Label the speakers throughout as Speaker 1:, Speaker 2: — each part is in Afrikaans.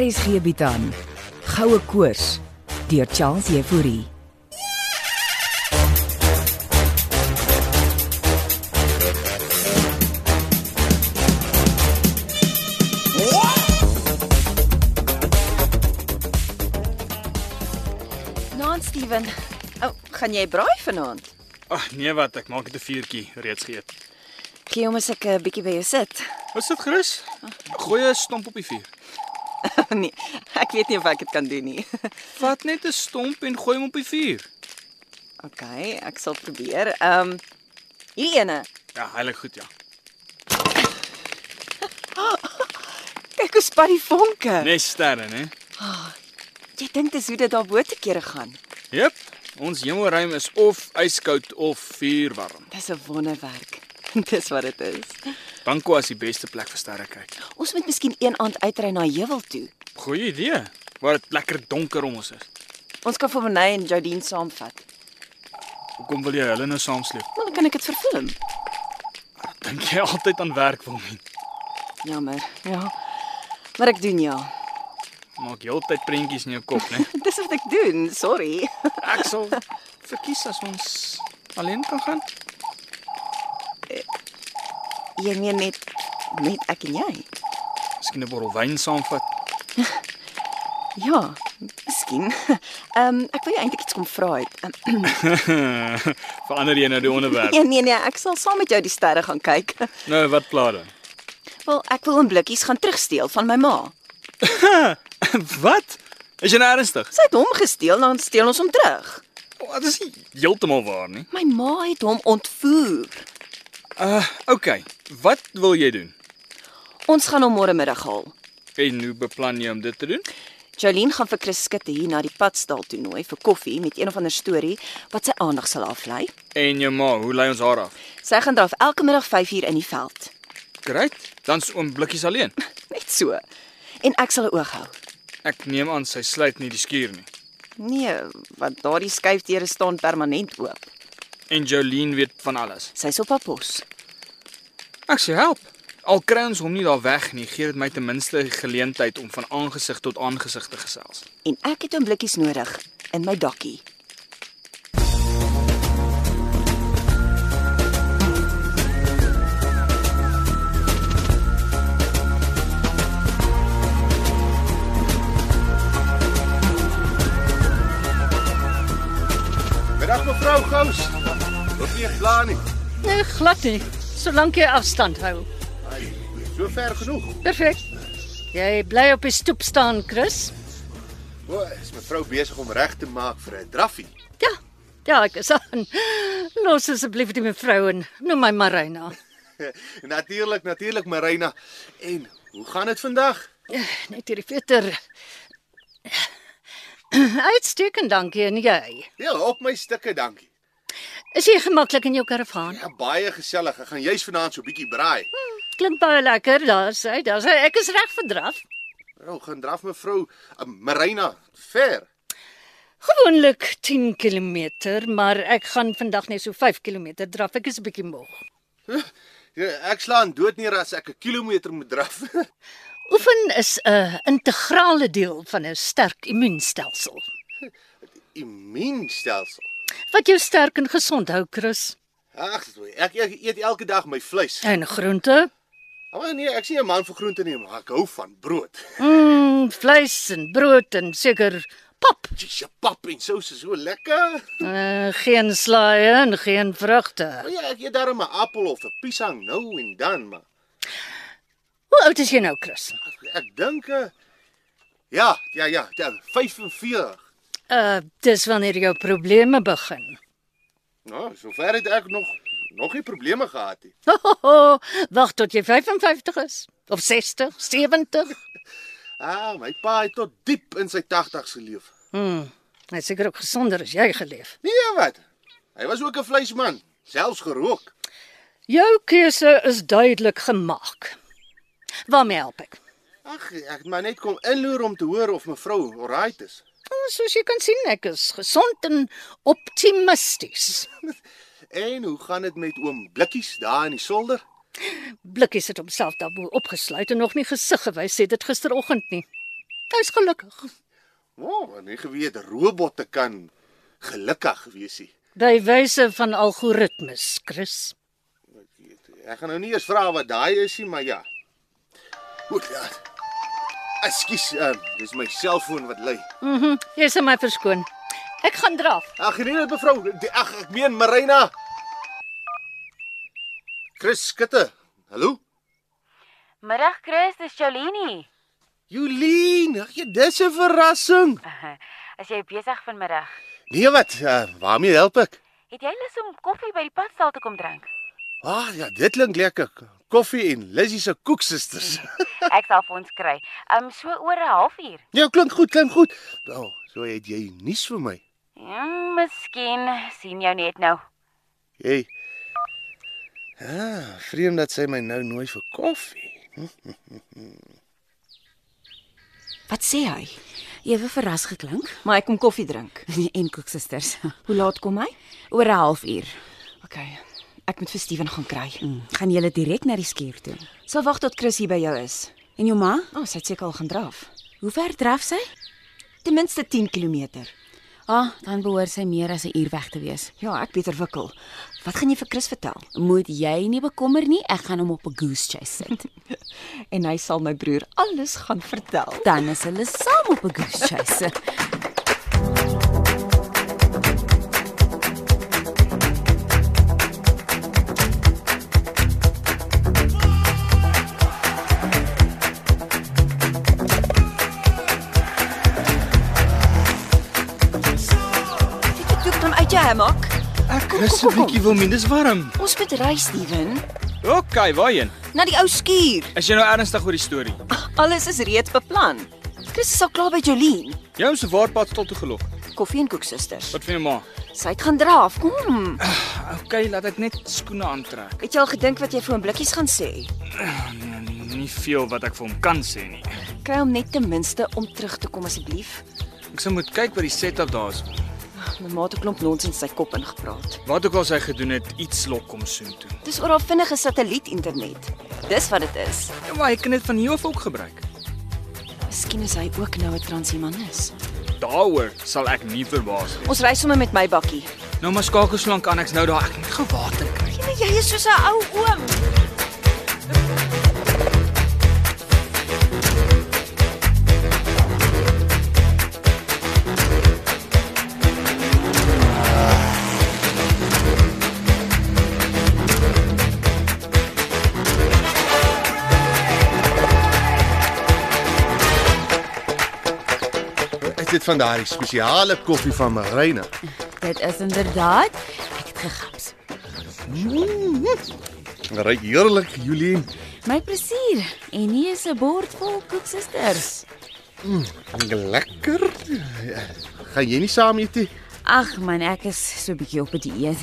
Speaker 1: RSG bied aan Goue Koors deur Charles Euphorie.
Speaker 2: Naam Steven. O, oh, gaan jy braai vanaand?
Speaker 3: Ag nee wat, ek maak dit 'n vuurtjie reeds geëet.
Speaker 2: Gee hom as ek 'n bietjie by jou sit.
Speaker 3: Wat sit gerus? Gooi 'n stomp op die vuur.
Speaker 2: nee, ek weet nie of ek dit kan doen nie.
Speaker 3: Vat net 'n stomp en gooi hom op die vuur.
Speaker 2: OK, ek sal probeer. Ehm um, hierdie ene.
Speaker 3: Ja, heilig goed ja.
Speaker 2: Kyk hoe spat die vonke.
Speaker 3: Net sterre, né?
Speaker 2: Jy dink dis hoe dit daar bo te kere gaan.
Speaker 3: Jep. Ons hemelruim is of yskoud of vuurwarm.
Speaker 2: Dis 'n wonderwerk. dis wat dit is.
Speaker 3: Banko is die beste plek vir sterre kyk.
Speaker 2: Ons moet miskien een aand uitry na Heuwel toe.
Speaker 3: Goeie idee. Waar dit lekker donker om ons is.
Speaker 2: Ons kan vir Monet en Jodine saamvat.
Speaker 3: Hoekom wil jy hulle nou saamsleep?
Speaker 2: Maar dan kan ek dit verfilm.
Speaker 3: Dink jy altyd aan werk wil nie?
Speaker 2: Jammer. Ja. Maar ek doen ja.
Speaker 3: Maak heeltyd prentjies in jou kop, né?
Speaker 2: Dis wat ek doen. Sorry.
Speaker 3: Ek sal verkies as ons alleen kan gaan.
Speaker 2: Jy meen net net ek en jy.
Speaker 3: Miskien 'n bottel wyn saamvat.
Speaker 2: Ja, miskien. Ehm um, ek wil jou eintlik iets kom vra het. Um,
Speaker 3: Verander jy nou die onderwerp?
Speaker 2: nee nee nee, ek sal saam met jou die sterre gaan kyk.
Speaker 3: Nou, wat pla dan?
Speaker 2: Wel, ek wil 'n blikkies gaan terugsteel van my ma.
Speaker 3: wat? Is jy nou ernstig?
Speaker 2: Sy het hom gesteel, dan steel ons hom terug.
Speaker 3: Oh, Dit is nie heeltemal waar nie.
Speaker 2: My ma het hom ontvoer.
Speaker 3: Uh, okay. Wat wil jy doen?
Speaker 2: Ons gaan hom môre middag haal.
Speaker 3: En hoe beplan jy om dit te doen?
Speaker 2: Jolene gaan vir Chris skitte hier na die padstal toe nooi vir koffie met een of ander storie wat sy aandag sal aflei.
Speaker 3: En jou ma, hoe lei ons haar af?
Speaker 2: Sy gaan draf elke middag 5uur in die veld.
Speaker 3: Great. Dan's oom Blikkies alleen.
Speaker 2: Net so. En ek sal 'n oog hou.
Speaker 3: Ek neem aan sy sluit nie die skuur nie.
Speaker 2: Nee, want daardie skuifdeure staan permanent oop.
Speaker 3: En Jolene weet van alles.
Speaker 2: Sy's op haar pos.
Speaker 3: Ek sê help. Al kry ons hom nie daar weg nie, gee dit my ten minste geleentheid om van aangesig tot aangesig te gesels.
Speaker 2: En ek het 'n blikkies nodig in my dakkie.
Speaker 4: Middag mevrou Gous. Hoop nie pla nie.
Speaker 5: Nee, glad nie. Solank jy afstand hou.
Speaker 4: Ai, So ver genoeg.
Speaker 5: Perfek. Jy bly op die stoep staan, Chris.
Speaker 4: O, is mevrou besig om reg te maak vir 'n draffie.
Speaker 5: Ja. Ja, ek is aan. Los asseblief die mevrou en noem my Marina.
Speaker 4: natuurlik, natuurlik Marina. En hoe gaan dit vandag?
Speaker 5: Net hierdie veter. Uitstekend, dankie en jy.
Speaker 4: Ja, op my stukke, dankie.
Speaker 5: Is jy gemaklik in jou karavaan?
Speaker 4: Ja, baie gesellig. Ek gaan juis vanaand so 'n bietjy braai.
Speaker 5: Klink baie lekker. Daar's hy, daar's hy. Ek is reg verdraf.
Speaker 4: Nou gaan draf mevrou uh, Marina ver.
Speaker 5: Gewoonlik 10 km, maar ek gaan vandag net so 5 km draf. Ek is 'n bietjie moeg.
Speaker 4: Ja, Ek slaan dood neer as ek 'n kilometer moet draf.
Speaker 5: Oefen is 'n integrale deel van 'n sterk immuunstelsel
Speaker 4: Immuunstelsel.
Speaker 5: wat jou sterk en gesond hou, Chris.
Speaker 4: Ag, ek, ek eet elke dag my vleis.
Speaker 5: En groente,
Speaker 4: Maar nee, ek's nie 'n man vir groente nie, maar ek hou van brood.
Speaker 5: mm, vleis en brood en seker pap.
Speaker 4: Dis pap en sous is so lekker.
Speaker 5: Uh, geen slaaië en geen vrugte.
Speaker 4: Nou ja, ek eet darem 'n appel of 'n piesang nou en dan, maar
Speaker 5: Hoe oud is jy nou, Chris?
Speaker 4: ek dink eh, ja, ja, ja, ja, 45.
Speaker 5: Uh, dis wanneer jou probleme begin.
Speaker 4: Nou, sover het ek nog nog nie probleme gehad nie.
Speaker 5: Wag tot jy 55 is of 60, 70.
Speaker 4: Ah, my pa het tot diep in sy 80's geleef.
Speaker 5: Mm, hy is seker ook gesonder as jy geleef.
Speaker 4: Nee, wat? Hy was ook 'n vleisman, selfs gerook.
Speaker 5: Jou keuse is duidelik gemaak. Waarmee help ek?
Speaker 4: Ag, ek het maar net kom inloer om te hoor of mevrou alright is.
Speaker 5: Oh, Soos jy kan sien, ek is gesond en optimisties.
Speaker 4: En hoe gaan dit met oom Blikkies daar in die solder?
Speaker 5: Blikkies het homself daarbo opgesluit en nog nie gesig gewys het dit gisteroggend nie. Hy's gelukkig.
Speaker 4: O, oh, nie geweet robotte kan gelukkig wees nie.
Speaker 5: By wyse van algoritmes, Chris.
Speaker 4: Ek gaan nou nie eers vra wat daai is nie, maar ja. Goed, ja. Ekskuus, ehm, dis my selfoon wat lui.
Speaker 5: Jy's my verskoon. Ek gaan draf.
Speaker 4: Ag nee, nee, mevrou, die- ag ek meen Marina. Chris Skutte. Hallo?
Speaker 6: Middag Chris, dis Jolini.
Speaker 4: Julien, ag jy dis 'n verrassing.
Speaker 6: As jy besig vanmiddag,
Speaker 4: Nee wat, uh, waarmee help ek?
Speaker 6: het jy lus om koffie by die padstal te kom drink?
Speaker 4: Ah ja, dit klink lekker. Koffie en Lizzie se koeksusters.
Speaker 6: Ek sal vir ons kry. Um so oor 'n halfuur.
Speaker 4: Ja, klink goed, klink goed. Nou, oh, so het jy nuus vir my.
Speaker 6: Ja, miskien sien jou net nou.
Speaker 4: Hey. Ah, vreemd dat sy my nou nooi vir koffie.
Speaker 2: Wat sê hy?
Speaker 7: Ewe verras geklink.
Speaker 2: Maar ek kom koffie drink.
Speaker 7: en koeksusters.
Speaker 2: Hoe laat kom hy?
Speaker 7: Oor 'n halfuur.
Speaker 2: OK. Ek moet vir Steven gaan kry.
Speaker 7: Mm. Gaan julle direk na die skuur toe.
Speaker 2: Sal wag tot Chris hier by jou is.
Speaker 7: En jou ma?
Speaker 2: O, oh, sy het seker al gaan draf.
Speaker 7: Hoe ver draf sy?
Speaker 2: Ten minste 10 km.
Speaker 7: Ah, dan behoort sy meer as 'n uur weg te wees.
Speaker 2: Ja, ek beter wikkel. Wat gaan jy vir Chris vertel?
Speaker 7: Moet jy nie bekommer nie, ek gaan hom op 'n goose chase sit.
Speaker 2: En hy sal my broer alles gaan vertel.
Speaker 7: dan is hulle saam op 'n goose chase.
Speaker 2: Ek toe kom uit jou hammock.
Speaker 3: Ek rus 'n bietjie wil min, dis warm.
Speaker 2: Ons moet ry, Steven,
Speaker 3: OK, waarheen?
Speaker 2: na die ou skuur.
Speaker 3: Is jy nou ernstig oor die storie?
Speaker 2: Alles is reeds beplan. Chris is al klaar by Jolien.
Speaker 3: Jou se waarpad stil toe gelok.
Speaker 2: Koffie en koeksusters.
Speaker 3: Wat van jou ma?
Speaker 2: Sy het gaan draaf. Kom.
Speaker 3: Ja, OK, laat ek net skoene aantrek.
Speaker 2: Het jy al gedink wat jy vir hom blikkies gaan sê?
Speaker 3: Nee, nee, nie veel wat ek vir hom kan sê nie.
Speaker 2: Kry hom net ten minste om terug te kom asseblief.
Speaker 3: Ek sou moet kyk wat die setup daar is.
Speaker 2: My ma het 'n klomp nonsens in sy kop ingepraat.
Speaker 3: Wat ook al sy gedoen het, iets lok kom soen toe.
Speaker 2: Dis oor haar vinnige satellietinternet. Dis wat dit is.
Speaker 3: Ja, maar hy kan dit van hier af ook gebruik.
Speaker 2: Miskien is hy ook nou 'n transhumanis.
Speaker 3: Daaroor sal ek nie verbaas wees.
Speaker 2: Ons ry sommer met my bakkie.
Speaker 3: Nou maar skakel so lank aan ek's nou daar. Ek moet gou water kry.
Speaker 2: Ja, jy is soos 'n ou oom.
Speaker 4: Is dit van daardie spesiale koffie van Marina?
Speaker 7: Dit is inderdaad ek het gegaps.
Speaker 4: Ryk Mm-hmm. heerlik, Julien.
Speaker 7: My plesier. En hier is 'n bord vol koeksusters.
Speaker 4: Lekker. Gaan jy nie saam eet nie?
Speaker 7: Ag man, ek is so 'n bietjie op 'n dieet.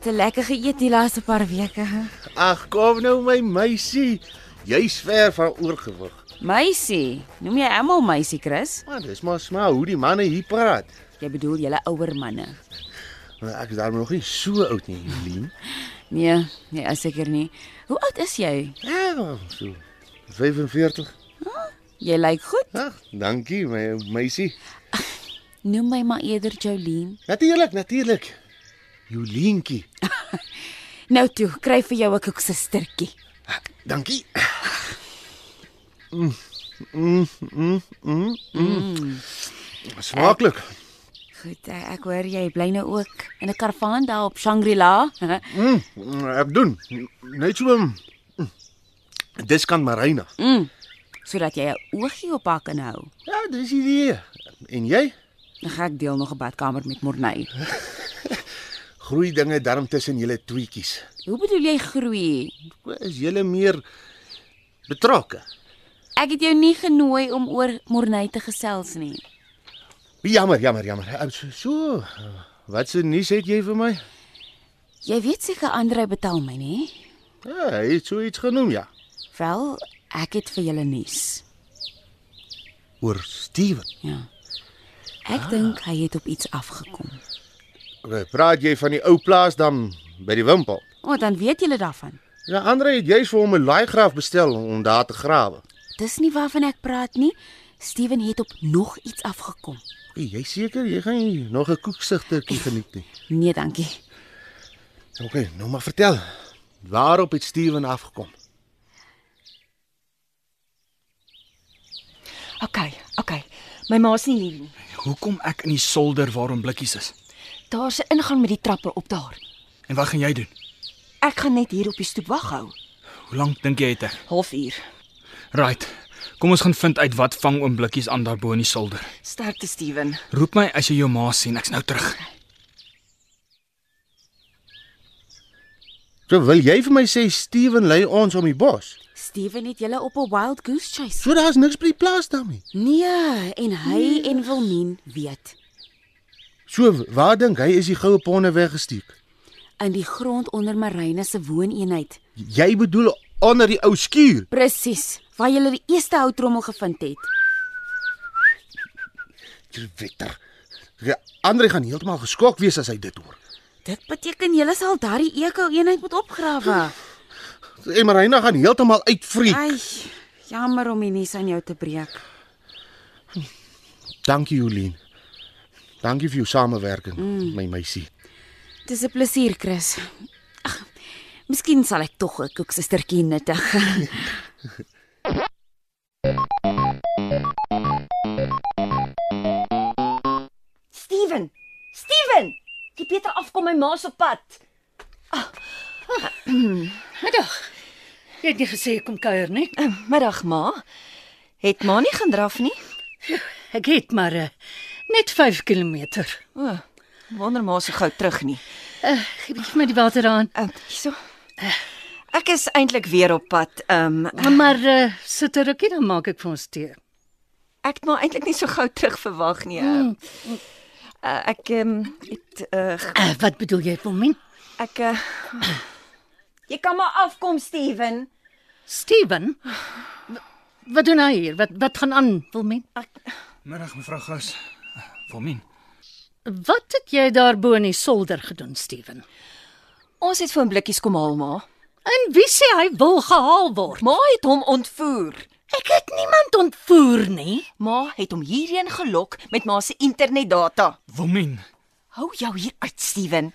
Speaker 7: Te lekker geëet die laaste paar weke.
Speaker 4: Ag, kom nou my meisie. Jy's ver van oorgewig.
Speaker 7: Meisie, noem jy almal meisie, Chris?
Speaker 4: Maar dis maar smaak hoe die manne hier praat.
Speaker 7: Jy bedoel julle ouer manne.
Speaker 4: Maar ek is daarom nog nie so oud nie, Julien.
Speaker 7: Nee, nee, is seker nie. Hoe oud is jy?
Speaker 4: Ja, so 45.
Speaker 7: Jy lyk goed.
Speaker 4: Ag, dankie my meisie.
Speaker 7: Noem my maar eerder Jolene.
Speaker 4: Natuurlik, natuurlik. Julientjie.
Speaker 7: Nou toe, kry vir jou 'n koeksustertjie.
Speaker 4: Dankie. Mm, mm, mm, mm, mm. Smaaklik.
Speaker 7: Goed, eh, ek hoor jy bly nou ook in 'n karavaan daar op Shangri-La.
Speaker 4: Mm, ek doen. Net so. mm. Dis kan Marina.
Speaker 7: Mm, Sodat jy 'n oogie op haar kan hou.
Speaker 4: Ja, dis die idee. En jy?
Speaker 7: Dan gaan ek deel nog 'n badkamer met Morney.
Speaker 4: Groei dinge darm tussen julle tweetjies.
Speaker 7: Hoe bedoel jy groei?
Speaker 4: Is julle meer betrokke?
Speaker 7: Ek het jou nie genooi om oor Morney te gesels nie.
Speaker 4: Jammer, jammer, jammer. Ek so, so eh, wat se nuus het jy vir my?
Speaker 7: Jy weet seker Andre betaal my, nee? nê?
Speaker 4: Ja, hy het so iets genoem, ja.
Speaker 7: Wel, ek het vir julle nuus.
Speaker 4: Oor Steven.
Speaker 7: Ja. Ek dink hy het op iets afgekom.
Speaker 4: Okay, praat jy van die ou plaasdam by die Wimpel?
Speaker 7: O, dan weet julle daarvan.
Speaker 4: Ja, Andre het juis vir hom 'n laaigraaf bestel om daar te grawe.
Speaker 7: Dis nie waarvan ek praat nie. Steven het op nog iets afgekom.
Speaker 4: Hey, jy seker jy gaan nie nog 'n koeksugtertjie geniet nie.
Speaker 7: Nee, dankie.
Speaker 4: OK, nou maar vertel. Waarop het Steven afgekom?
Speaker 8: OK, OK. My ma's nie hier nie.
Speaker 3: Hoekom ek in die solder waarom blikkies is?
Speaker 8: Daar's 'n ingang met die trappe op daar.
Speaker 3: En wat gaan jy doen?
Speaker 8: Ek gaan net hier op die stoep wag hou.
Speaker 3: Hoe lank dink jy het ek?
Speaker 8: Halfuur.
Speaker 3: Right. Kom ons gaan vind uit wat vang oom blikkies aan daarbo in die solder.
Speaker 8: Sterkte, Steven.
Speaker 3: Roep my as jy jou ma sien, ek's nou terug.
Speaker 4: So wil jy vir my sê Steven lei ons om die bos?
Speaker 7: Steven het julle op 'n wild goose chase.
Speaker 4: So daar's niks by die plaas daarmee.
Speaker 7: Nee, en hy en Wilmien weet
Speaker 4: So waar dink hy is die goue ponne weggesteek?
Speaker 7: in die grond onder Marina se wooneenheid.
Speaker 4: Jy bedoel onder die ou skuur.
Speaker 7: Presies, waar julle die eerste houtrommel gevind het.
Speaker 4: Jy wetter. Ja, Andre gaan heeltemal geskok wees as hy dit hoor.
Speaker 7: Dit beteken julle sal daardie eko-eenheid moet opgrawe.
Speaker 4: En Marina gaan heeltemal uitvriek.
Speaker 7: Ai, jammer om die nuus aan jou te breek.
Speaker 4: Dankie Jolien. Dankie vir jou samewerking, mm. my meisie.
Speaker 7: Dis 'n plesier, Chris. Ag, miskien sal ek tog 'n koeksustertjie nuttig.
Speaker 8: Steven. Steven. Jy Peter afkom my ma se pad.
Speaker 5: Jy het nie gesê ek kom kuier nie.
Speaker 2: Ehm, Middag ma. Het ma nie gedraf nie?
Speaker 5: Ek het maar eh, net 5 km.
Speaker 2: O. Wonder ma so gou terug nie.
Speaker 5: Gee bietjie my die water aan.
Speaker 2: Ehm, uh, so. Ek is eintlik weer op pad. Ehm um,
Speaker 5: Maar uh, sit 'n rukkie dan maak ek vir ons tee.
Speaker 2: ek het maar eintlik nie so gou terug verwag nie. ehm.
Speaker 8: Hmm.
Speaker 2: Uh, ek ehm um, het uh, g-
Speaker 5: Uh, wat bedoel jy, Wilmien?
Speaker 2: ek uh,
Speaker 8: Jy kan maar afkom, Steven.
Speaker 5: Steven? W- Wat doen hy hier? Wat wat gaan aan, Wilmien?
Speaker 3: Middag mevrou Gous. Wilmien.
Speaker 5: Wat het jy daar bo in die solder gedoen, Steven?
Speaker 2: ons het vir 'n blikkies kom haal ma.
Speaker 5: En wie sê hy wil gehaal word?
Speaker 2: Ma het hom ontvoer.
Speaker 5: Ek het niemand ontvoer nie.
Speaker 2: Ma het hom hierheen gelok met ma se internetdata.
Speaker 3: Wilmien.
Speaker 2: Hou jou hier uit, Steven.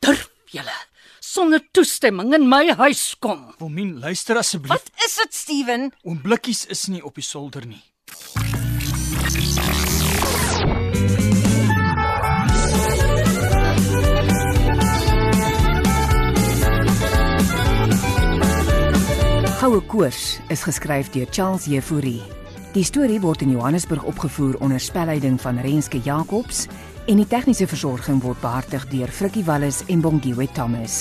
Speaker 5: Durf julle sonder toestemming in my huis kom?
Speaker 3: Wilmien, luister asseblief.
Speaker 2: Wat is dit, Steven?
Speaker 3: Oom blikkies is nie op die solder nie.
Speaker 9: Goue Koors is geskryf deur Charles Jefouri. Die storie word in Johannesburg opgevoer onder spelleiding van Renske Jacobs en die tegniese versorging word behartig deur Frikkie Wallis en Bongwe Thomas.